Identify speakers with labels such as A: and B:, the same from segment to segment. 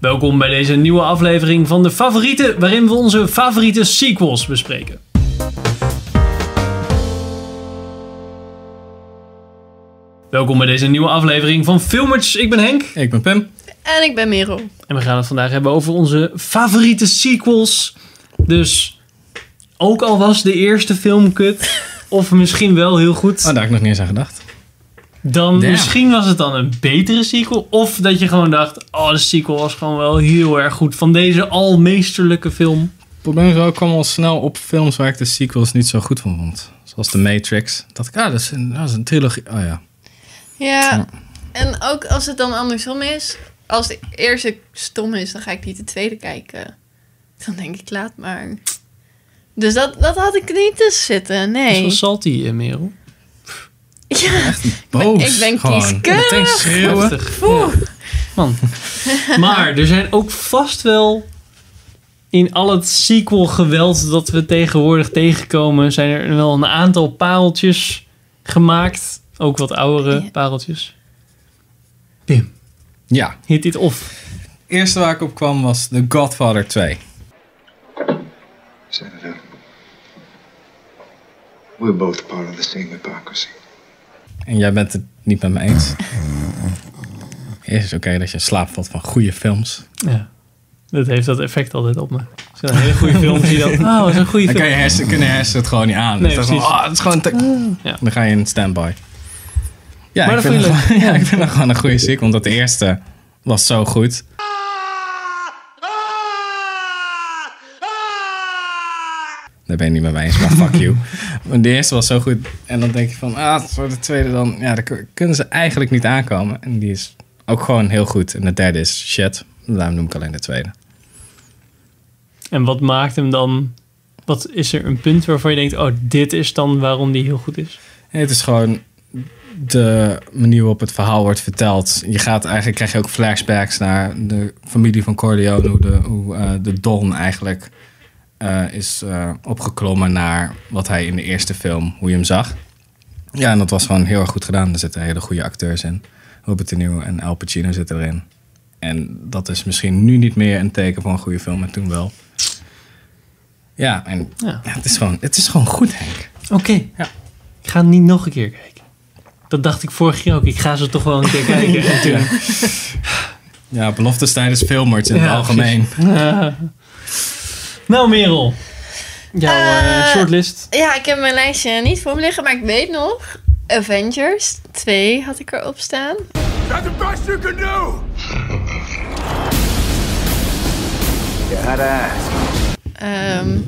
A: Welkom bij deze nieuwe aflevering van de favoriete, waarin we onze favoriete sequels bespreken. Welkom bij deze nieuwe aflevering van Filmers. Ik ben Henk.
B: Ik ben Pim.
C: En ik ben Merel.
A: En we gaan het vandaag hebben over onze favoriete sequels. Dus ook al was de eerste film kut, of misschien wel heel
B: Oh,
A: goed,
B: daar heb ik nog niet eens aan gedacht.
A: dan
B: damn.
A: misschien was het dan een betere sequel. Of dat je gewoon dacht, oh de sequel was gewoon wel heel erg goed van deze almeesterlijke film.
B: Het probleem is wel, ik kwam al snel op films waar ik de sequels niet zo goed van vond. Zoals The Matrix. Dat ik, ah, dat is een, dat is een trilogie. Oh ja.
C: Ja, en ook als het dan andersom is. Als de eerste stom is, dan ga ik niet de tweede kijken. Dan denk ik, laat maar. Dus dat, dat had ik niet te zitten,
A: Dat is
C: nee.
A: wel salty, eh, Merel.
C: Ja,
B: Boos.
C: ik ben
B: gewoon.
C: kieskeurig.
B: Meteen schreeuwen.
A: Heftig. Ja. Man. Maar er zijn ook vast wel... In al het sequel geweld dat we tegenwoordig tegenkomen... zijn er wel een aantal pareltjes gemaakt. Ook wat oudere
C: Ja.
A: pareltjes. Pim,
B: Ja.
A: hit dit off.
B: Eerste waar ik op kwam was The Godfather 2.
D: Senator, we're both part of the same hypocrisy.
B: En jij bent het niet met me eens. Eerst is oké dat je in slaap valt van goede films.
A: Ja. Dat heeft dat effect altijd op me. Als je een hele goede film ziet, dan... Oh, dat is een goede
B: Dan kan
A: film.
B: je hersenen, kunnen hersenen het gewoon niet aan.
A: Nee,
B: dus dan,
A: precies.
B: van, oh, dat is gewoon te-
A: Ja.
B: dan ga je in standby. Ja,
A: Maar
B: ik
A: dat
B: vind,
A: vond
B: het
A: je
B: gewoon, ja, ik vind het gewoon een goede sequel. Omdat de eerste was zo goed. Daar ben je niet met mij eens, maar fuck you. Maar de eerste was zo goed. En dan denk je van, ah, voor de tweede dan... Ja, daar kun- kunnen ze eigenlijk niet aankomen. En die is ook gewoon heel goed. En de derde is shit. Daarom noem ik alleen de tweede.
A: En wat maakt hem dan... Wat is er een punt waarvan je denkt... Oh, dit is dan waarom die heel goed is?
B: Nee, het is gewoon de manier waarop het verhaal wordt verteld. Je gaat eigenlijk, krijg je ook flashbacks naar de familie van Corleone. Hoe de, hoe, eh, de Don eigenlijk eh, is eh, opgeklommen naar wat hij in de eerste film, hoe je hem zag. Ja, en dat was gewoon heel erg goed gedaan. Er zitten hele goede acteurs in. Robert De Niro en Al Pacino zitten erin. En dat is misschien nu niet meer een teken van een goede film, maar toen wel. Ja, en
A: Ja.
B: ja, het, is gewoon, het is gewoon goed, Henk.
A: Oké. Ik ga niet nog een keer kijken. Dat dacht ik vorig jaar ook. Ik ga ze toch wel een keer kijken. Natuurlijk.
B: Ja, beloftes tijdens filmarts in het
A: Ja,
B: algemeen.
A: nou, Merel. Jouw eh,
C: Eh,
A: shortlist.
C: Ja, ik heb mijn lijstje niet voor me liggen, maar ik weet nog. Avengers 2 had ik erop staan. Ehm,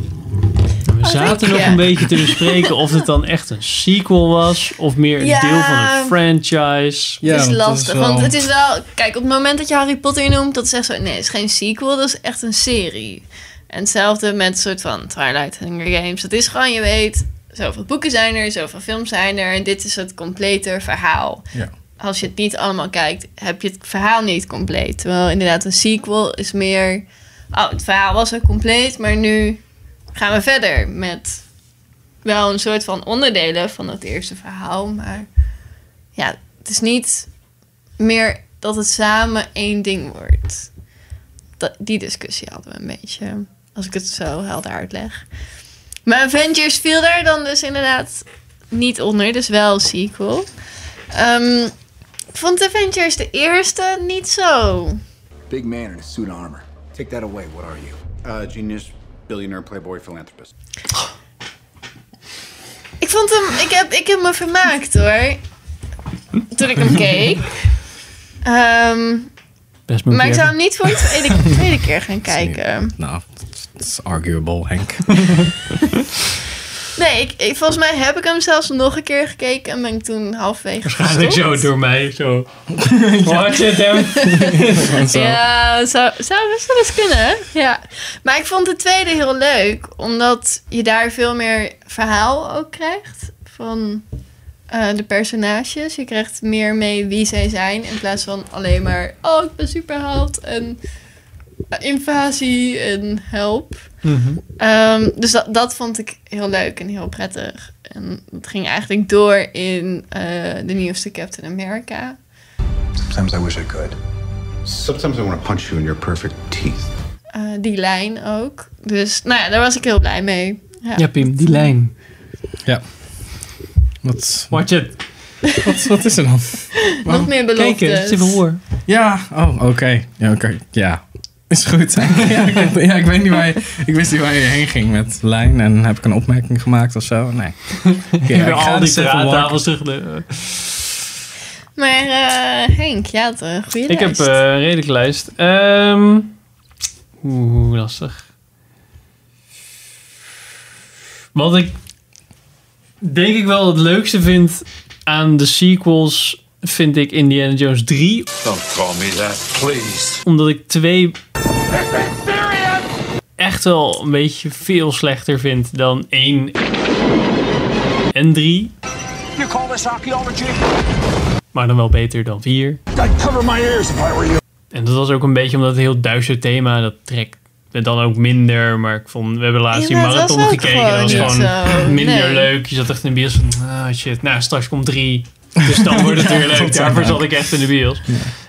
A: We zaten
C: ik,
A: nog
C: ja.
A: een beetje te bespreken of het dan echt een sequel was. Of meer een
C: Ja.
A: deel van een franchise.
B: Ja,
C: het
B: want
C: is
B: dat
C: lastig,
B: is wel-
C: want het is wel... Kijk, op het moment dat je Harry Potter noemt, dat is echt zo... Nee, het is geen sequel, dat is echt een serie. En hetzelfde met een soort van Twilight Hunger Games. Dat is gewoon, je weet, zoveel boeken zijn er, zoveel films zijn er... en dit is het complete verhaal.
B: Ja.
C: Als je het niet allemaal kijkt, heb je het verhaal niet compleet. Terwijl inderdaad een sequel is meer... Oh, het verhaal was al compleet, maar nu gaan we verder met... Wel een soort van onderdelen van het eerste verhaal, maar ja, het is niet meer dat het samen één ding wordt. Dat, die discussie hadden we een beetje, als ik het zo helder uitleg. Maar Avengers viel daar dan dus inderdaad niet onder, dus wel een sequel. Ehm, ik vond Avengers de eerste niet zo.
E: Big man in a suit of armor. Take that away. What are you?
F: Uh, genius, billionaire, playboy, philanthropist.
C: Ik vond hem, ik heb, ik heb me vermaakt hoor. Toen ik hem keek. Ehm,
A: Best moet
C: maar ik
A: ik zeggen.
C: zou hem niet voor de tweede, tweede keer gaan kijken.
B: Nou, dat is arguable, Henk.
C: Nee, ik, ik- volgens mij heb ik hem zelfs nog een keer gekeken en ben ik toen halfweg
A: Eigenlijk
C: gestopt.
A: zo door mij. Zo. Watch it, hem.
B: Want zo-
C: Ja, zou, zou best wel eens kunnen. Ja. Maar ik vond de tweede heel leuk, omdat je daar veel meer verhaal ook krijgt van eh, de personages. Je krijgt meer mee wie zij zijn, in plaats van alleen maar, oh ik ben superheld en eh, invasie en help. Ehm, dus dat, dat vond ik heel leuk en heel prettig. En dat ging eigenlijk door in eh, de nieuwste Captain America.
E: Sometimes I wish I could.
F: Sometimes I want to punch you in your perfect teeth.
C: Eh, die lijn ook. Dus nou ja, daar was ik heel blij mee. Ja.
A: Ja, Pim, die lijn.
B: Ja. Wat,
A: Watch it.
B: wat, wat is er dan?
C: Nog meer beloftes.
A: Kijk eens, even hoor.
B: Ja, oh, oké. Ja, oké. Ja, is goed. ja, ik, ja, ik weet niet waar je, ik wist niet waar je heen ging met lijn en heb ik een opmerking gemaakt of zo? Nee. Oké,
A: ik heb
B: ga
A: al die
B: dus even walken.
A: terraattafels terug.
C: Maar eh, Henk, jij had een goede
A: Ik heb
C: lijst.
A: eh, een redelijke lijst. Ehm, Oeh, lastig. Wat ik denk ik wel het leukste vind aan de sequels, vind ik Indiana Jones 3.
F: Don't call me that, please.
A: Omdat ik 2 echt wel een beetje veel slechter vind dan 1 en 3.
E: You call this archaeology?
A: Maar dan wel beter dan 4.
E: I'd cover my ears if I were you.
A: En dat was ook een beetje omdat het heel duister thema, dat trekt me dan ook minder. Maar ik vond, we hebben laatst die
C: Ja, maar het was
A: marathon
C: ook
A: gekeken. Dat was
C: gewoon
A: gewoon
C: niet zo,
A: minder
C: nee.
A: leuk. Je zat echt in de bios van, ah shit, nou straks komt drie. Dus dan wordt het weer leuk. Daarvoor zat ik echt in de bios.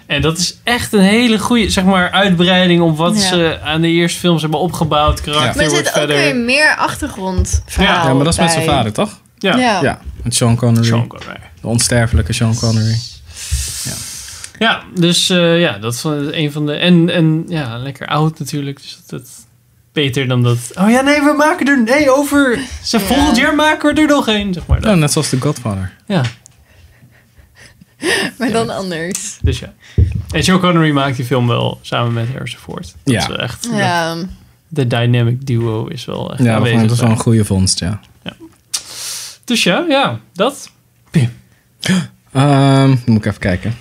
A: En dat is echt een hele goede, zeg maar, uitbreiding op wat
C: Ja.
A: ze aan de eerste films hebben opgebouwd. Karakter
C: Maar er
A: wordt
C: zit ook
A: verder.
C: weer meer achtergrondverhaal
B: Ja, maar dat is met zijn
C: bij.
B: vader, toch?
A: Ja, ja.
C: Ja.
B: Ja, met Sean Connery.
A: Sean Connery.
B: De onsterfelijke Sean Connery.
A: Ja, dus eh, ja, dat is een van de. En, en ja, lekker oud natuurlijk. Dus dat, dat- beter dan dat. Oh ja, nee, we maken er. Nee, over. Ze
C: Ja.
A: volgend jaar maken we er nog een. Zeg maar.
B: Ja,
A: Dat.
B: net zoals The Godfather.
A: Ja,
C: Maar dan anders.
A: dus ja. En Joe Connery maakt die film wel samen met Harrison Ford. Dat
B: Ja.
A: is echt.
C: Ja.
A: De dynamic duo is wel echt
B: Ja, dat
A: aanwezig.
B: vond- dat is wel een
A: daar.
B: goede vondst, ja.
A: Dus ja, ja, dat.
B: Ehm, moet ik even kijken.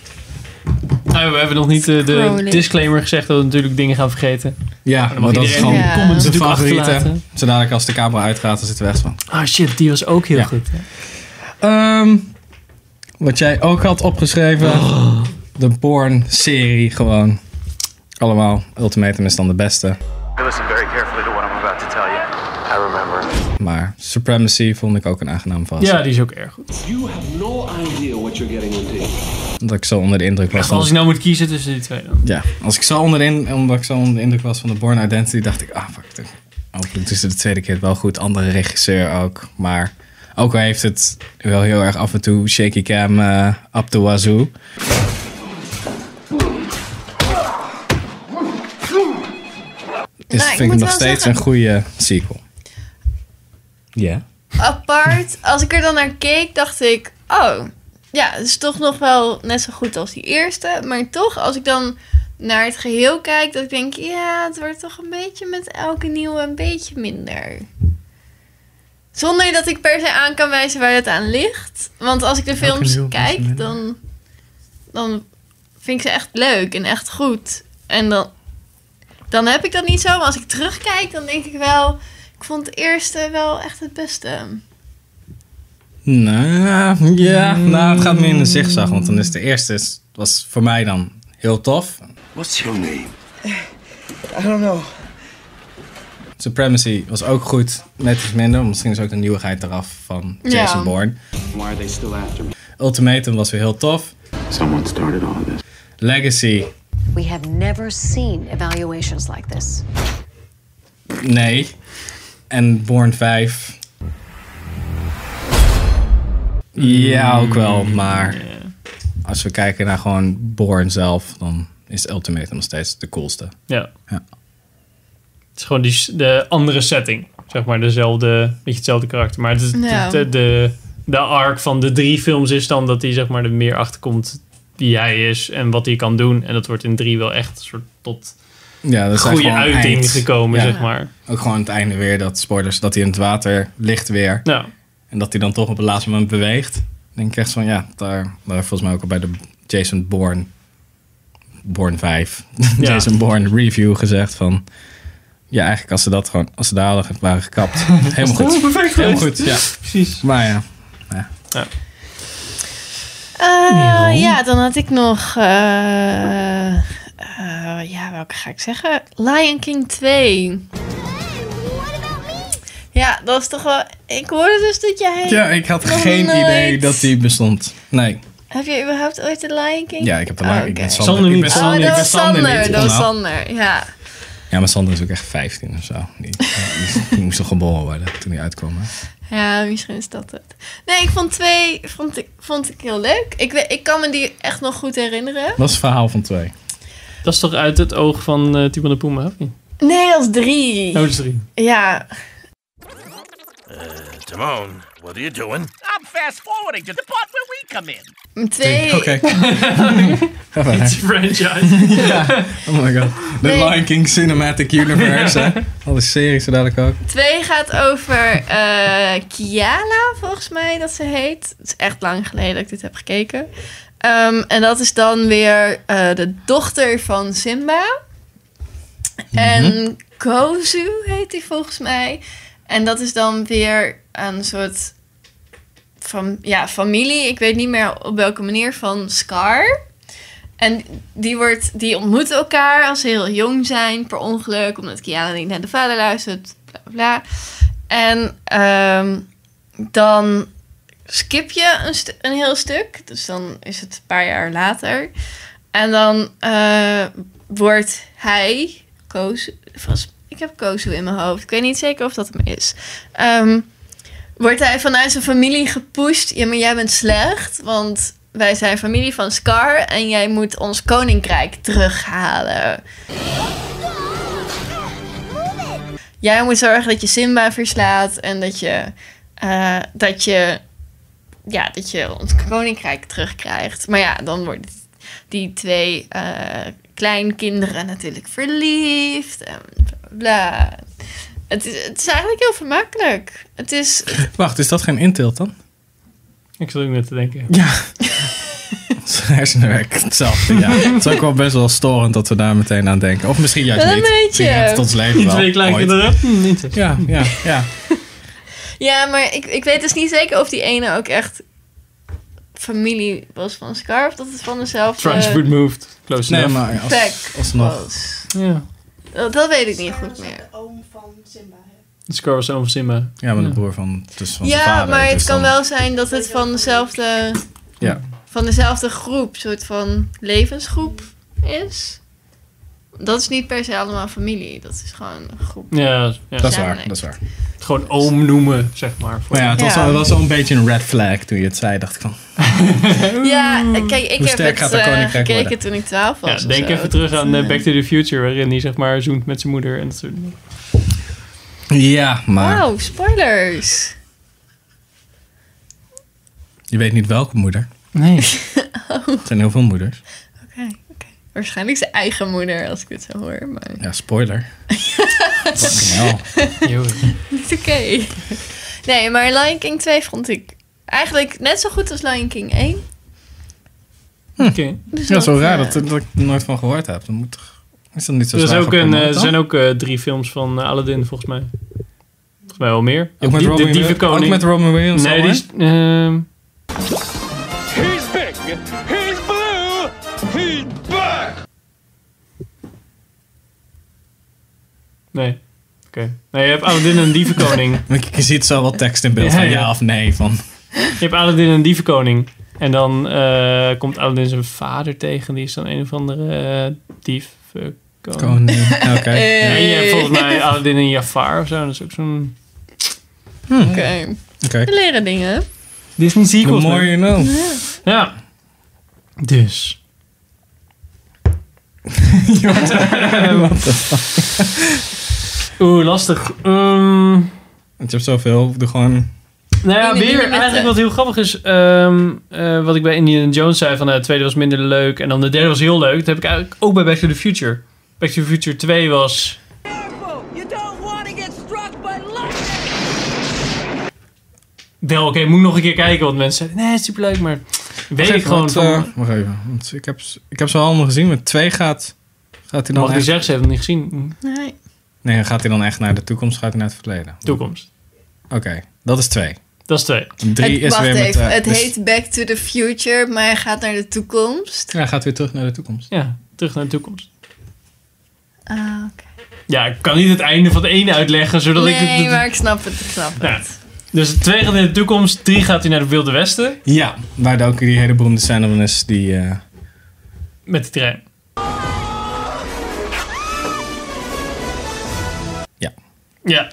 A: Nou, we hebben nog niet eh, de
C: Scrolling.
A: disclaimer gezegd dat we natuurlijk dingen gaan vergeten.
B: Ja,
A: Dan mag
B: maar dat is
A: iedereen
B: gewoon
A: in de comments
B: de
A: natuurlijk
B: favoriete.
A: achterlaten.
B: Zo dadelijk als de camera uitgaat, dan zitten we echt van...
A: Ah shit, die was ook heel
B: Ja.
A: goed. hè.
B: Ehm, wat jij ook had opgeschreven. De Born-serie gewoon. Allemaal. Ultimatum is dan de beste.
G: I listen very carefully to what I'm about to tell you. I remember.
B: Maar Supremacy vond ik ook een aangenaam vast.
A: Ja, die is ook erg goed.
H: You have no idea what you're getting into.
B: Omdat ik zo onder de indruk was.
A: Echt,
B: van
A: als ik nou moet kiezen tussen die twee dan.
B: ja, als ik zo onder de, in- omdat ik zo onder de indruk was van de Born Identity, dacht ik, ah fuck. dit- Hopelijk is het de tweede keer wel goed. Andere regisseur ook. Maar ook al heeft het wel heel erg af en toe shaky cam eh up the wazoo. Is,
C: Nou, ik
B: vind ik
C: moet
B: nog
C: wel
B: steeds
C: zeggen-
B: een goede sequel. Ja.
C: Apart, als ik er dan naar keek, dacht ik... Oh, ja, het is toch nog wel net zo goed als die eerste. Maar toch, als ik dan naar het geheel kijk, dat ik denk... Ja, het wordt toch een beetje met elke nieuwe een beetje minder. Zonder dat ik per se aan kan wijzen waar het aan ligt. Want als ik de films
B: nieuwe een beetje
C: kijk,
B: minder.
C: dan, dan vind ik ze echt leuk en echt goed. En dan, dan heb ik dat niet zo. Maar als ik terugkijk, dan denk ik wel... Ik vond het eerste wel echt het beste.
B: Nou, ja, nou, het gaat meer in een zigzag. Want dan is de eerste, is- was voor mij dan heel tof.
E: What's your name?
B: Supremacy was ook goed, net iets minder. Misschien is ook de nieuwigheid eraf van Jason
C: Ja.
B: Bourne.
H: Why are they still after me?
B: Ultimatum was weer heel tof.
F: Someone started all of this.
B: Legacy,
I: We have never seen evaluations like this.
B: nee. En Bourne 5. Ja, ook wel,
A: Mm,
B: maar als we kijken naar gewoon Bourne zelf, dan is Ultimatum nog steeds de coolste.
A: Ja.
B: Ja.
A: Het is gewoon die, de andere setting. Zeg maar dezelfde, beetje hetzelfde karakter. Maar het is-
C: Ja.
A: de, de, de arc van de drie films is dan dat hij zeg maar er meer achter komt wie hij is en wat hij kan doen. En dat wordt in drie wel echt een soort tot
B: Ja, dat is echt
A: goede
B: gewoon
A: uiting
B: eind.
A: gekomen,
B: Ja.
A: zeg maar.
B: Ook gewoon het einde weer, dat spoilers, dat hij in het water ligt weer.
A: Nou,
B: En dat hij dan toch op het laatste moment beweegt. Dan denk ik echt van ja, daar, daar volgens mij ook al bij de Jason Bourne. Bourne 5.
A: Ja.
B: Jason Bourne review gezegd van. Ja, eigenlijk als ze dat gewoon, als ze dadelijk waren gekapt. Helemaal goed.
A: perfect
B: Helemaal goed, ja.
A: Precies.
B: Maar ja.
C: Eh, ja, dan had ik nog. eh, eh, ja, welke ga ik zeggen? Lion King 2. Ja, dat is toch wel. Ik hoorde dus dat jij.
B: Ja, ik had
C: nog
B: geen
C: nooit-
B: idee dat die bestond. Nee.
C: Heb je überhaupt ooit de Lion King?
B: Ja, ik heb de
C: Oh,
B: Lion Ik
C: oké.
B: ben
A: Sander
B: Sander.
A: niet. Oh,
B: Ik ben Sander.
C: Oh,
B: ik ben
C: dat was Sander.
B: niet.
C: Dat was
B: Nou,
C: Sander, ja.
B: Ja, maar Sander is ook echt 15 of zo. Die, die, die moest toch geboren worden toen hij uitkwam. hè?
C: Ja, misschien is dat het. Nee, ik vond twee vond ik, vond ik heel leuk. Ik, weet- ik kan me die echt nog goed herinneren.
B: Dat is het verhaal van twee.
A: Dat is toch uit het oog van eh Timon de Puma, of niet?
C: Nee, als drie.
A: Oh, dat is drie.
C: Ja,
J: Uh, Timon, what are you doing? I'm fast forwarding to the part where we come in.
C: twee.
B: Oké. Ga
A: Het
B: verder.
A: franchise.
B: Oh my god. The
C: Nee.
B: Lion King Cinematic Universe. hè? Alle series zo dadelijk ook.
C: Twee gaat over eh, Kiana, volgens mij dat ze heet. Het is echt lang geleden dat ik dit heb gekeken. Ehm, en dat is dan weer eh, de dochter van Simba. En Kozu heet die volgens mij. En dat is dan weer een soort van, ja, familie. Ik weet niet meer op welke manier van Scar. En die, wordt, die ontmoeten elkaar als ze heel jong zijn, per ongeluk, omdat Kiana niet naar de vader luistert, bla bla. bla. En ehm, dan skip je een, stu- een heel stuk, dus dan is het een paar jaar later. En dan eh, wordt hij, Koos, volgens- ik heb Kozu in mijn hoofd, ik weet niet zeker of dat hem is. Ehm, wordt hij vanuit zijn familie gepusht. Ja, maar jij bent slecht, want wij zijn familie van Scar en jij moet ons koninkrijk terughalen. Jij moet zorgen dat je Simba verslaat en dat je, eh, dat je, ja, dat je ons koninkrijk terugkrijgt. Maar ja, dan worden die twee eh, kleinkinderen natuurlijk verliefd en bla. bla. Het is, het is eigenlijk heel vermakelijk. Het is,
B: Wacht, is dat geen intilt dan?
A: Ik zat ook net te denken.
B: Ja. Ons hersenen werken hetzelfde, ja. Het is ook wel best wel storend dat we daar meteen aan denken. Of misschien juist
C: Wel een
B: niet.
C: beetje.
B: Je hebt het ons leven
A: Die
B: wel.
A: twee kleine
B: ooit.
A: kinderen. Hm, interest.
B: Ja, ja, ja.
C: Ja, maar ik, ik weet dus niet zeker of die ene ook echt familie was van Scar of dat het van dezelfde
A: Transport moved. Close
B: Nee,
A: enough.
B: maar
C: plek
B: als, alsnog.
C: was. Oh,
A: Ja.
C: Dat, dat weet ik niet goed meer.
A: De score was oom van Simba.
B: Ja, maar de broer van, dus van zijn
C: Ja,
B: vader.
C: maar het
B: dus
C: kan
B: dan-
C: wel zijn dat het van dezelfde,
B: Ja.
C: van dezelfde groep, soort van levensgroep is. Dat is niet per se allemaal familie, dat is gewoon een groep.
A: Ja, ja.
B: Dat is
C: Ja,
B: waar,
C: nee.
B: dat is waar.
A: Het gewoon oom noemen, zeg maar. Voor
B: Maar Nou ja, het was,
C: Ja.
B: Al, het was al een beetje een red flag toen je het zei. dacht ik van,
C: Ja, kijk, ik
B: Hoe
C: heb
B: sterk
C: het
B: gaat dat
C: eh,
B: koninkrijk
C: gekeken
B: worden?
C: toen ik 12 was.
A: Ja,
C: of
A: denk
C: zo.
A: even terug aan eh, Back to the Future, waarin hij zeg maar zoent met zijn moeder en dat soort dingen.
B: ja, maar
C: Wauw, spoilers.
B: je weet niet welke moeder.
A: Nee.
B: Er zijn heel veel moeders.
C: Oké, oké. Waarschijnlijk zijn eigen moeder, als ik het zo hoor. Maar
B: Ja, spoiler. Fucking hell.
C: niet oké. Nee, maar Lion King 2 vond ik eigenlijk net zo goed als Lion King 1.
A: Oké.
C: Dus
B: Ja, dat is wel raar
C: eh,
B: dat, dat ik er nooit van gehoord heb. Dat moet toch, is dat niet zo
A: Er, is
B: zwaar
A: ook
B: voor
A: een, eh,
B: promoten?
A: er zijn ook eh, drie films van eh, Aladdin, volgens mij. Volgens mij wel meer.
B: Ook met
A: Die-
B: Robin
A: de Dievenkoning.
B: Williams. Ook met Robin Williams.
A: Nee,
B: al,
A: die
B: hè?
A: is... ehm,
J: He's big, he's blue, he's back!
A: nee. Oké. Nee, je hebt Aladdin en Dievenkoning.
B: Maar je- Je ziet zo wel tekst in beeld
A: Ja,
B: van
A: ja.
B: ja of nee. Van.
A: Je hebt Aladdin en Dievenkoning. En dan eh, komt Aladdin zijn vader tegen. Die is dan een of andere eh dief. eh, koning.
B: Koning. Oké.
A: En
B: Ja,
A: je hebt volgens mij Aladdin en Jafar of zo. Dat is ook zo'n...
C: Oké,
B: Oké.
C: we leren dingen.
A: Disney
B: The
A: sequel.
B: more you know.
A: Ja. Dus. Oeh, lastig. Ehm,
B: Want je hebt zoveel. Doe gewoon...
A: nou ja,
C: In de
A: weer
C: midden.
A: eigenlijk wat heel grappig is. ehm, eh, wat ik bij Indiana Jones zei: van eh, de tweede was minder leuk. En dan de derde was heel leuk. Dat heb ik eigenlijk ook bij Back to the Future. Back to the Future 2 was.
J: You don't want to get struck by lightning!
A: Wel, oké, moet ik nog een keer kijken. Want mensen zeiden: nee, superleuk. Maar weet ik gewoon.
B: Want,
A: van,
B: eh, wacht even. Want ik heb, ze- ik heb ze allemaal gezien. Met twee gaat, gaat hij dan
A: mag ik
B: echt...
A: zeggen, ze hebben het niet gezien.
C: Nee.
B: Nee, gaat hij dan echt naar de toekomst? Gaat hij naar het verleden?
A: Toekomst.
B: Oké. Dat is twee.
A: Dat is twee.
B: Drie
C: Het,
B: is
C: wacht
B: weer met...
C: even,
B: eh,
C: het
B: dus-
C: heet Back to the Future, maar hij gaat naar de toekomst.
B: Ja, hij gaat weer terug naar de toekomst.
A: Ja, terug naar de toekomst.
C: Ah, oké. Ah,
A: Ja, ik kan niet het einde van de ene uitleggen, zodat ik...
C: Nee,
A: het-
B: Nou,
C: maar ik snap het, ik snap het.
A: Ja. Dus twee gaat in de toekomst, drie gaat hij naar de Wilde Westen
B: Ja, waar de ook die hele beroemde scène van is die... eh,
A: met die trein.
B: ja,
A: Ja,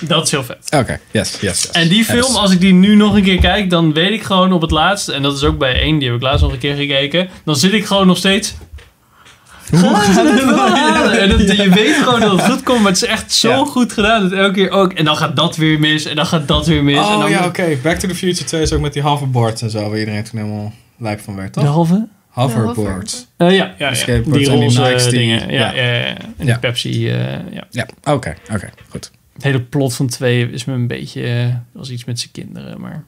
A: dat is heel vet.
B: oké. Yes, yes, yes.
A: En die
B: Yes.
A: film, als ik die nu nog een keer kijk, dan weet ik gewoon op het laatst, en dat is ook bij één, die heb ik laatst nog een keer gekeken, dan zit ik gewoon nog steeds. Hoe gaat het wel halen? En dat, je weet gewoon dat het goed komt, maar het is echt zo
B: Ja.
A: goed gedaan dat elke keer ook. En dan gaat dat weer mis, en dan gaat dat weer mis. en
B: Oh
A: dan
B: ja, oké. Back to the Future 2 is ook met die hoverboards en zo, waar iedereen toen helemaal lijp van werd, toch?
A: De halve?
B: Hoverboards.
A: Eh, ja, ja, ja.
B: skateboards
A: die
B: en die
A: roze
B: Nikes die-
A: dingen. Ja,
B: ja.
A: ja. Ja, ja. En die
B: Ja.
A: Pepsi. eh, ja.
B: Ja, oké, oké, goed.
A: Het hele plot van twee is me een beetje... eh, was iets met zijn kinderen, maar...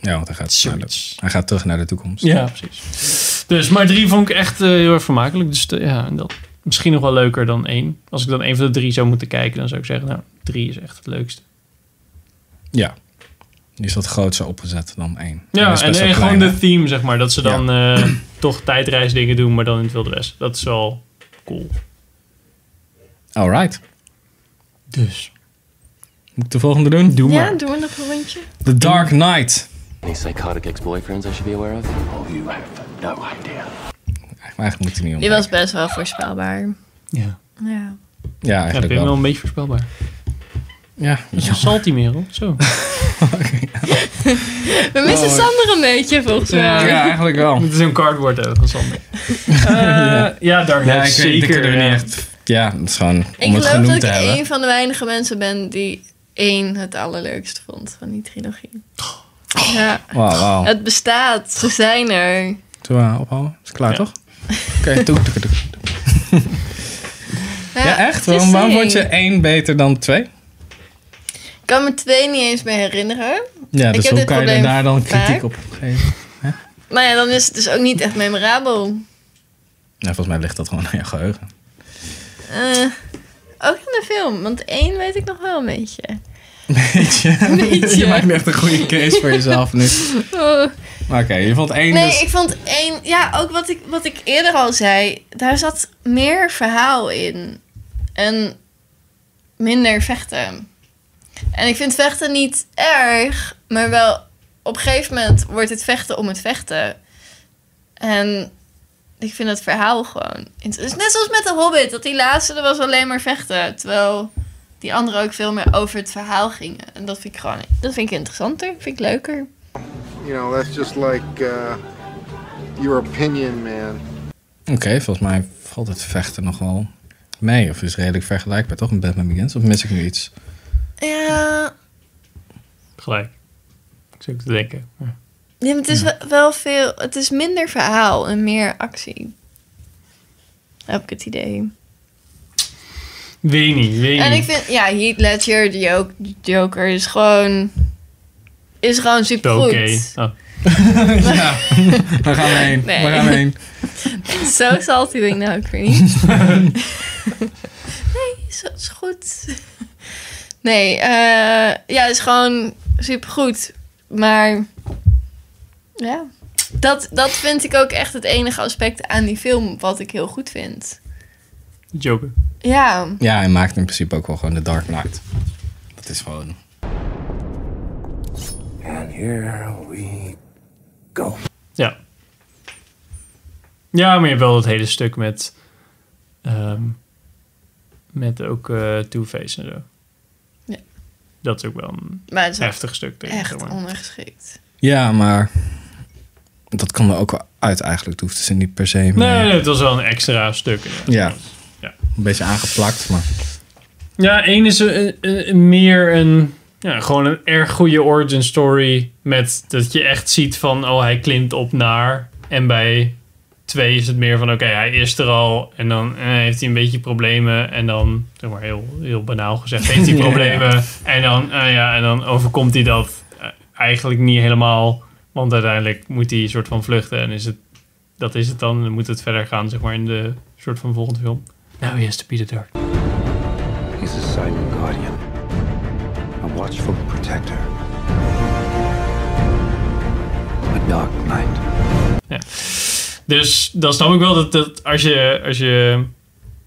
B: Ja, want hij gaat, naar de,
A: Zoiets.
B: hij gaat terug naar de toekomst.
A: Ja, precies. Dus, maar drie vond ik echt eh, heel erg vermakelijk. Dus eh, ja, en dat misschien nog wel leuker dan één. Als ik dan één van de drie zou moeten kijken, dan zou ik zeggen, nou, drie is echt het leukste.
B: Ja. Die is wat groter opgezet dan één. Hij
A: Ja,
B: is
A: en,
B: best wel
A: en gewoon
B: klein,
A: de
B: hè?
A: theme, zeg maar. Dat ze dan eh, toch tijdreisdingen doen, maar dan in het Wilde Westen. Dat is wel cool.
B: Alright.
A: Dus.
B: Moet ik de volgende doen? Doe
C: Ja, doen we nog een rondje?
B: The Dark Knight.
J: Any psychotic ex-boyfriends I should be aware of?
E: Oh, you have no idea.
B: Eigenlijk moet hij niet om.
C: Die was best wel voorspelbaar.
A: Ja,
C: Ja.
B: Ja,
A: ja ik
B: eigenlijk
A: ben wel
B: wel.
A: een beetje voorspelbaar.
B: Ja.
A: Dat is een salty merel, zo.
C: We missen Sander een beetje, volgens mij.
B: Oh. ja, eigenlijk wel.
A: Het is een cardboard ook van Sander. Eh, ja. Dark Knight
B: Ja, ik weet, dit
A: zeker. eh,
B: kunnen we
A: ja.
B: niet echt... Ja, het is gewoon
C: Ik
B: om het
C: geloof dat
B: genoemd
C: ik
B: te hebben.
C: een van de weinige mensen ben die één het allerleukst vond van die trilogie.
B: Oh.
C: Ja.
B: Wauw, wauw.
C: Het bestaat, ze zijn er.
B: Zullen we eh, ophouden? Is het klaar,
A: Ja.
B: toch? Oké, doe, doe, doe. Ja, echt? Waarom, waarom vond je één beter dan twee?
C: Ik kan me twee niet eens meer herinneren.
B: Ja,
C: Ik
B: dus
C: heb
B: hoe
C: dit
B: kan je er
C: probleem
B: daar dan
C: vaak.
B: kritiek op geven?
C: Maar ja, dan is het dus ook niet echt memorabel.
B: Nou, volgens mij ligt dat gewoon aan je geheugen.
C: Eh, ook in de film, want één weet ik nog wel een beetje.
B: je maakt echt een goede case voor jezelf nu.
C: Oh.
B: Maar oké, je vond één
C: Nee,
B: dus...
C: ik vond één... Ja, ook wat ik, wat ik eerder al zei. Daar zat meer verhaal in. En minder vechten. En ik vind vechten niet erg. Maar wel... Op een gegeven moment wordt het vechten om het vechten. En ik vind het verhaal gewoon... int- Het is net zoals met de Hobbit. Dat die laatste, er was alleen maar vechten. Terwijl die andere ook veel meer over het verhaal gingen. En dat vind ik gewoon... Dat vind ik interessanter. Vind ik leuker.
E: You know, that's just like uh, your opinion, man.
B: Oké, volgens mij valt het vechten nog wel mee. Of is redelijk vergelijkbaar, toch? Met Batman Begins? Of mis ik nu iets?
C: Ja...
A: Gelijk. Ik zit ook te denken. Ja.
C: Ja, maar het is wel- wel veel. Het is minder verhaal en meer actie. Heb ik het idee.
A: Weet niet, weet
C: En
A: niet.
C: ik vind, ja, Heath Ledger, die ook die Joker, is gewoon. Is gewoon
A: Oké.
C: supergoed.
A: Oh.
B: ja, waar gaan we heen?
C: Nee.
B: Waar gaan we heen?
C: Zo salty ben ik nou ook weer niet. nee, is- is goed. Nee, eh, ja, is gewoon supergoed. Maar ja, dat, dat vind ik ook echt het enige aspect aan die film wat ik heel goed vind.
A: Joker.
C: Ja,
B: Ja, hij maakt in principe ook wel gewoon The Dark Knight. Dat is gewoon...
E: And here we go.
A: Ja. Ja, maar je hebt wel dat hele stuk met... ehm, met ook eh Two-Face en zo.
C: Ja.
A: Dat is ook wel een
C: maar het is wel
A: heftig stuk. Denk ik,
C: echt
A: zeg maar.
C: ondergeschikt.
B: Ja, maar... Dat kan er ook wel uit eigenlijk. Het hoeft dus niet per se meer...
A: Nee, nee, het was wel een extra stuk. inderdaad.
B: Ja.
A: Ja.
B: Een beetje aangeplakt, maar...
A: Ja, één is een, een- een- meer een... Ja, gewoon een erg goede origin story. Met dat je echt ziet van... Oh, hij klimt op naar. En bij twee is het meer van... Oké, hij is er al. En dan eh, heeft hij een beetje problemen. En dan, zeg maar heel, heel banaal gezegd... Heeft hij
B: Ja, ja.
A: problemen. En, dan, eh, ja, en dan overkomt hij dat eh, eigenlijk niet helemaal. Want uiteindelijk moet hij een soort van vluchten. En is het, dat is het dan. En dan moet het verder gaan, zeg maar, in de soort van volgende film. Now
B: Nou,
A: he has to be the dark.
E: He's a silent guardian, a watchful protector, a dark knight.
A: Dus dan snap ik wel dat, dat als je. Als je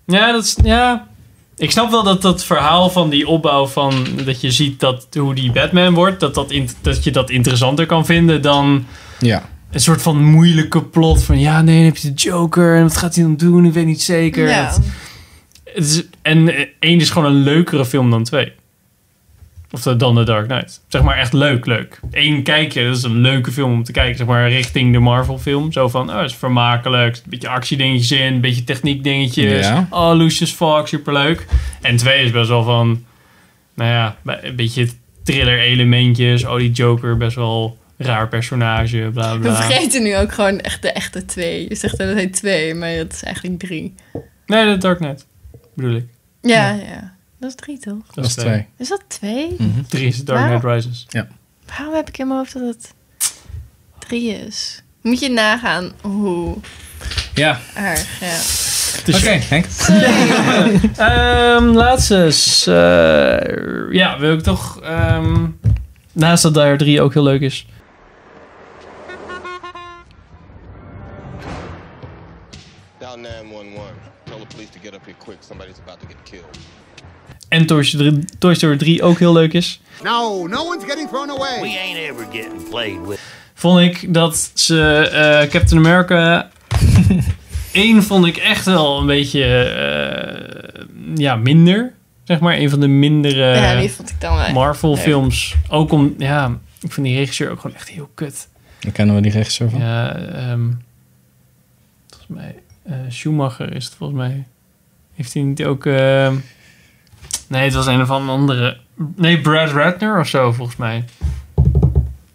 A: ja, dat is. Ja. Ik snap wel dat dat verhaal van die opbouw van dat je ziet dat hoe die Batman wordt, dat, dat, in- dat je dat interessanter kan vinden dan
B: Ja.
A: een soort van moeilijke plot van ja, nee, dan heb je de Joker en wat gaat hij dan doen? Ik weet niet zeker.
C: Ja.
A: Het- het is- en eh, één is gewoon een leukere film dan twee. Of eh, dan The Dark Knight. Zeg maar echt leuk, leuk. Eén kijk je, dat is een leuke film om te kijken. Zeg maar richting de Marvel film. Zo van, oh, is vermakelijk. Een beetje actiedingetjes in, een beetje techniek dingetjes.
B: Ja.
A: Oh, Lucius Fox, superleuk. En twee is best wel van, nou ja, een beetje thriller elementjes. Oh, die Joker, best wel raar personage, bla
C: We
A: bla.
C: vergeten nu ook gewoon echt de echte twee. Je zegt dat het heet twee, maar het is eigenlijk drie.
A: Nee, The Dark Knight bedoel ik.
C: Ja, ja. Dat is drie, toch?
A: Dat,
B: Dat is twee.
C: Is dat twee?
A: Drie is The Dark
C: Wauw.
A: Knight Rises.
C: Waarom heb ik in mijn hoofd dat het drie is? Moet je nagaan hoe
B: Ja.
C: erg, ja.
B: Oké, Henk.
A: Ehm, laatste. is, eh, ja, wil ik toch. ehm, naast dat Dire 3 ook heel leuk is.
H: Dial 911. Tell the police to get up here quick. Somebody's about to get killed.
A: En Toy Story 3 Toy Story 3 ook heel leuk is.
E: No, no one's getting thrown away.
J: We ain't ever getting played with.
A: Vond ik dat ze eh, Captain America. 1 vond ik echt wel een beetje. eh, ja, minder. Zeg maar. Een van de mindere.
C: ja, die vond ik dan wel. echt
A: Marvel
C: leuk.
A: films. Ook om. Ja, ik vind die regisseur ook gewoon echt heel kut.
B: Dan kennen we die regisseur van.
A: Ja, ehm, volgens mij eh, Schumacher is het volgens mij. Heeft hij niet ook? ehm, nee, het was een of andere. Nee, Brad Ratner of zo volgens mij.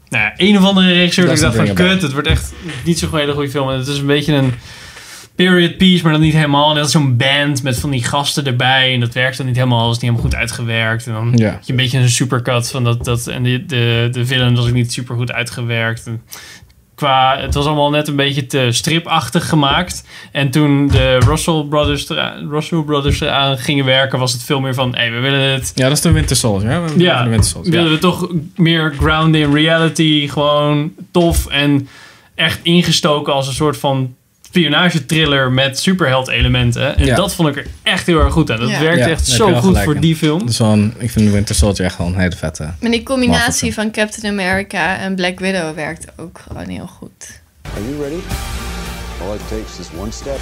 A: Nou, ja, een of andere regisseur. Dat ik
B: Doesn't
A: dacht van
B: ring a bell.
A: kut, het wordt echt niet zo'n hele goede film. En het is een beetje een period piece, maar dan niet helemaal. En dat is zo'n band met van die gasten erbij. En dat werkt dan niet helemaal. Dat is niet helemaal goed uitgewerkt. En dan
B: Ja.
A: heb je een beetje een supercut van dat. dat en de, de, de villain was ook niet super goed uitgewerkt. En qua, het was allemaal net een beetje te stripachtig gemaakt. En toen de Russell Brothers, eraan- Russell Brothers eraan gingen werken, was het veel meer van: hé, hey, we willen het.
B: Ja, dat is de Winter Soldier. Hè? We hebben
A: Ja,
B: de Winter Soldier.
A: willen we toch meer ground in reality. Gewoon tof en echt ingestoken als een soort van spionagetriller met superheld-elementen. En
B: Ja.
A: dat vond ik er echt heel erg goed aan. Dat
C: Ja.
A: werkte
B: Ja,
A: echt
B: daar heb
A: zo
B: je wel
A: goed
B: gelijk
A: voor
B: in.
A: die film.
B: Dat is wel een- ik vind de Winter Soldier echt wel een hele vette.
C: Maar die
B: Marvel
C: combinatie van Captain America en Black Widow werkt ook gewoon heel goed.
H: Are you ready? All it takes is one step.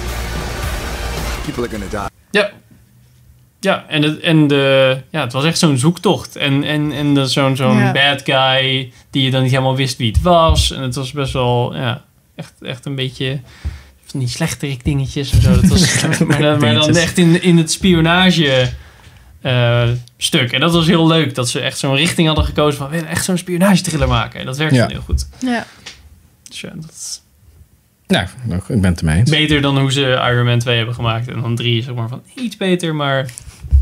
E: People are gonna die.
A: Ja. Ja, en, het, en de, ja, het was echt zo'n zoektocht. En, en, en dat zo'n zo'n
C: Ja.
A: bad guy die je dan niet helemaal wist wie het was. En het was best wel, ja, echt, echt een beetje van die slechterik dingetjes en zo. Dat was, maar, dan, maar dan
B: Dingetjes.
A: echt in, in het spionage eh, stuk. En dat was heel leuk, dat ze echt zo'n richting hadden gekozen van... we willen echt zo'n spionagetriller maken. En dat werkte
B: Ja.
A: dan heel goed.
C: Ja.
A: Dus ja, dat is
B: Nou, ik ben het ermee eens.
A: beter dan hoe ze Iron Man 2 hebben gemaakt. En dan 3 zeg maar van iets beter, maar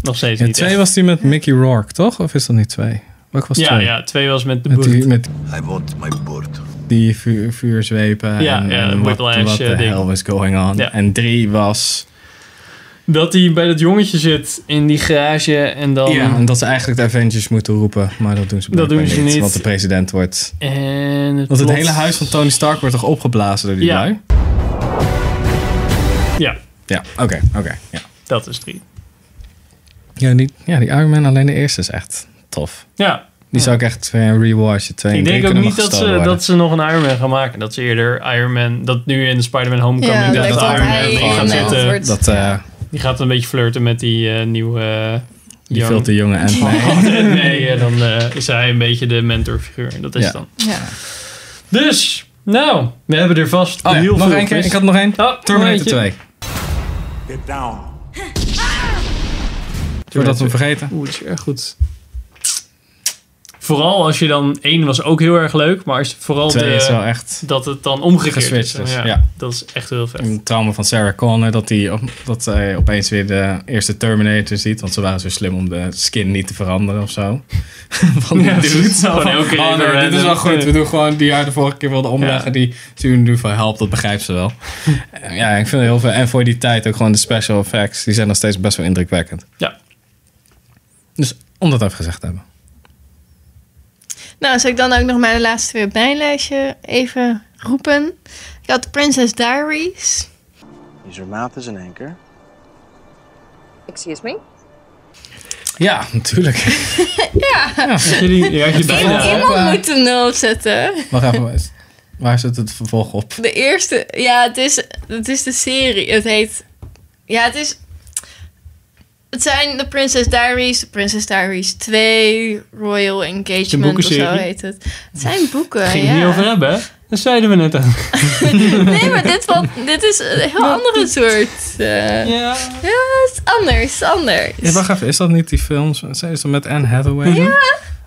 A: nog steeds
B: In
A: niet echt.
B: twee was die met Mickey Rourke, toch? Of is dat niet twee? Welk was
A: ja,
B: twee?
A: ja, twee was met de
B: Met die,
A: boot.
B: met
E: I want my board.
B: die vuur, vuurzwepen
A: Ja,
B: en,
A: ja,
B: en
A: de
B: wat,
A: whiplash,
B: wat
A: eh,
B: the
A: ding.
B: hell was going on.
A: Ja.
B: En drie was...
A: Dat hij bij dat jongetje zit in die garage en dan...
B: ja, en dat ze eigenlijk de Avengers moeten roepen. Maar dat doen ze,
A: Dat
B: blijkbaar
A: doen ze niet.
B: Want de president wordt...
A: En het
B: Want het
A: plot-
B: hele huis van Tony Stark wordt toch opgeblazen door die
A: Ja.
B: lui?
A: Ja,
B: Ja, oké, oké. ja.
A: dat is drie.
B: Ja, die, ja, die Iron Man alleen de eerste is echt tof.
A: Ja,
B: Die zou ik echt weer rewatchen. Twee en
A: ik
B: drie
A: denk ook
B: kunnen
A: niet dat
B: wel
A: ze,
B: gestolen worden.
A: dat ze nog een Iron Man gaan maken. Dat ze eerder Iron Man... Dat nu in Spider-Man Homecoming...
C: Ja,
A: dat
C: dat
A: de
C: hij
A: Iron Man
C: in
A: gewoon gaat
C: het
A: zitten.
C: wordt-
B: Dat, eh,
A: Die gaat een beetje flirten met die eh, nieuwe... eh,
B: die
A: young-
B: veel te jonge en
A: nee, eh, dan eh, is hij een beetje de mentorfiguur. Dat is
B: Ja.
A: dan.
C: Ja.
A: Dus, nou, we hebben er vast
B: Oh ja,
A: heel
B: nog
A: veel
B: één keer.
A: quiz.
B: Ik had nog één.
A: Oh,
B: Terminator
A: momentje.
B: 2.
J: Get down.
B: Voordat we hem vergeten.
A: Oeh, dat is erg goed. Vooral als je dan... één was ook heel erg leuk, maar als je vooral
B: Twee
A: de,
B: is wel echt
A: dat het dan omgekeerd is.
B: Geswitcht is,
A: Ja,
B: ja.
A: Dat is echt heel vet.
B: een trauma van Sarah Connor. Dat, die, op- dat zij opeens weer de eerste Terminator ziet. Want ze waren zo slim om de skin niet te veranderen of zo. van die
A: Ja,
B: dude.
A: precies. Gewoon
B: Van,
A: elke keer
B: oh,
A: weer
B: nee, dit is wel
A: random.
B: goed. We doen gewoon die haar de vorige keer wilde omleggen.
A: Ja.
B: Die zien nu van help. Dat begrijpt ze wel. ja, ik vind het heel veel. En voor die tijd ook gewoon de special effects. Die zijn nog steeds best wel indrukwekkend.
A: Ja.
B: Dus om dat even gezegd te hebben.
C: Nou, zal ik dan ook nog maar de laatste weer op mijn lijstje even roepen. Ik had Princess Diaries.
I: Excuse me?
B: Ja, natuurlijk.
A: Had je die, die had je bijna. hè?
B: Ja.
C: Iemand moet hem erop zetten.
B: Wacht even. waar is- Waar zit het vervolg op?
C: De eerste, ja, het is, het is de serie. Het heet, ja, het is, het zijn de Princess Diaries, de Princess Diaries 2, Royal Engagement of zo
A: boekenserie.
C: heet het. Het zijn boeken,
A: Ging
C: ja.
A: het niet over hebben, hè? Dat zeiden we net aan.
C: Nee, maar dit, valt, dit is een heel andere soort. eh, ja,
A: Ja.
C: het is anders, anders.
B: Ja, wacht even. Is dat niet die film? Zijn is dat met Anne Hathaway?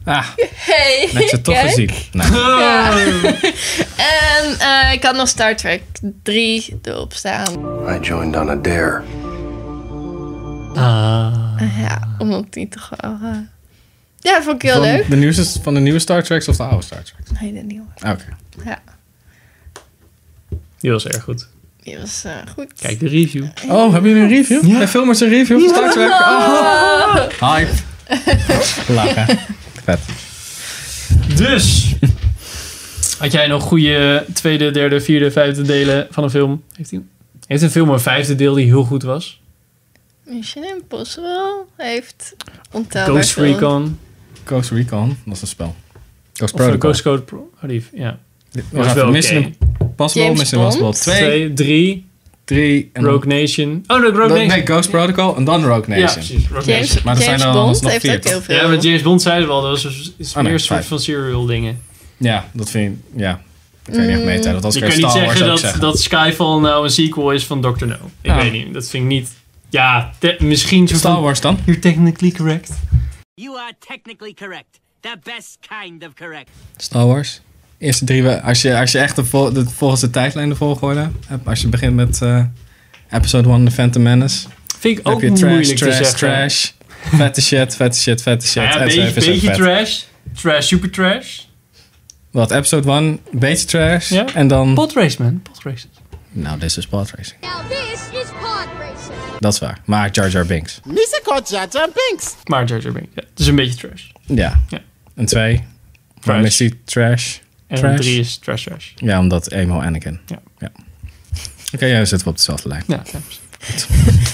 B: Ah,
C: Hey,
B: heb ik ze toch
C: kijk.
B: gezien. Nou,
C: En eh, ik had nog Star Trek 3 erop staan.
F: I joined on a dare.
A: Ah.
C: Ja, omdat die toch wel... eh, ja, dat vond ik heel
B: van,
C: leuk.
B: de nieuwste, van de nieuwe Star Trek of de oude Star Trek?
C: Nee, de nieuwe.
B: Ah, Oké.
C: Ja,
A: Die was erg goed.
C: die was eh, goed.
A: Kijk de review.
B: Oh, hebben jullie een review? Ja. film is een review van Star Trek. Oh. Hype. Lachen. Vet.
A: Dus. Had jij nog goede tweede, derde, vierde, vijfde delen van een film? Heeft, die, heeft een film een vijfde deel die heel goed was?
C: Mission Impossible heeft ontelbaar
A: Ghost
C: veel-
A: Recon.
B: Ghost Recon, dat is een spel. Ghost
A: Of
B: Protocol.
A: Ghost Code Pro. Oh, die, ja.
B: Wacht
A: was
B: even,
A: wel
B: Mission
A: oké.
B: Impossible,
C: James
B: Mission Impossible
C: Bond.
B: 2,
A: Twee, drie.
B: 3 en dan-
A: Rogue Nation. Oh, nee, Rogue
B: dan-
A: Nation.
B: Nee, Ghost Protocol en dan Rogue
A: Ja,
B: Nation.
A: precies. Rogue
C: James,
A: Nation.
B: Maar er zijn
C: James
B: er
C: Bond
B: alsnog
C: heeft
B: vier,
C: ook heel veel.
A: Ja, maar James Bond zei het wel. Dat was dus- is
B: Oh, nee,
A: meer een soort
B: vijf.
A: van serial dingen.
B: Ja, dat vind ik. Ja. Ik weet niet echt mee tellen, want als
A: Je
B: ik
A: kan
B: Star
A: niet
B: Wars
A: zeggen
B: ook
A: dat,
B: zeggen.
A: dat Skyfall nou een sequel is van Dr. No. Ik
B: Ja.
A: weet niet. Dat vind ik niet... Ja, te- misschien zo
B: Star
A: van...
B: Wars dan?
A: You're technically correct.
J: You are technically correct. The best kind of correct.
B: Star Wars. Eerste drie, we- als je, als je echt de vol- de, volgens de tijdlijn de volgorde hebt, als je begint met eh, episode 1, The Phantom Menace,
A: Vind ik
B: dan
A: ook
B: heb je trash,
A: moeilijk te
B: trash,
A: zeggen.
B: trash, vette shit, vette shit, vette shit,
A: Nou ja,
B: en zo
A: beetje,
B: even zo
A: beetje
B: vet.
A: trash. Trash, super trash.
B: Wat, episode 1, beetje trash,
A: Ja.
B: en dan...
A: Potrace, man. Potrace.
B: nou, dit is pod racing. Dat is waar, maar Jar Jar Binks.
J: Misa called Jar Jar Binks.
A: Maar Jar Jar Binks. Ja, het is een beetje trash.
B: Ja.
A: Ja.
B: En twee,
A: Trash.
B: trash. Misty, trash.
A: En
B: Trash.
A: drie is trash, trash.
B: Ja, omdat eenmaal Anakin.
A: Ja.
B: Oké, ja, dan zitten we op dezelfde lijn.
A: Ja, ja.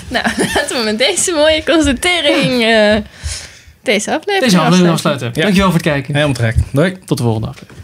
C: Nou, laten we met deze mooie constatering eh, deze aflevering
A: Deze aflevering
C: afsluiten.
A: afsluiten.
B: Ja.
A: Dankjewel voor het kijken.
B: Helemaal trek. Doei.
A: Tot de volgende aflevering.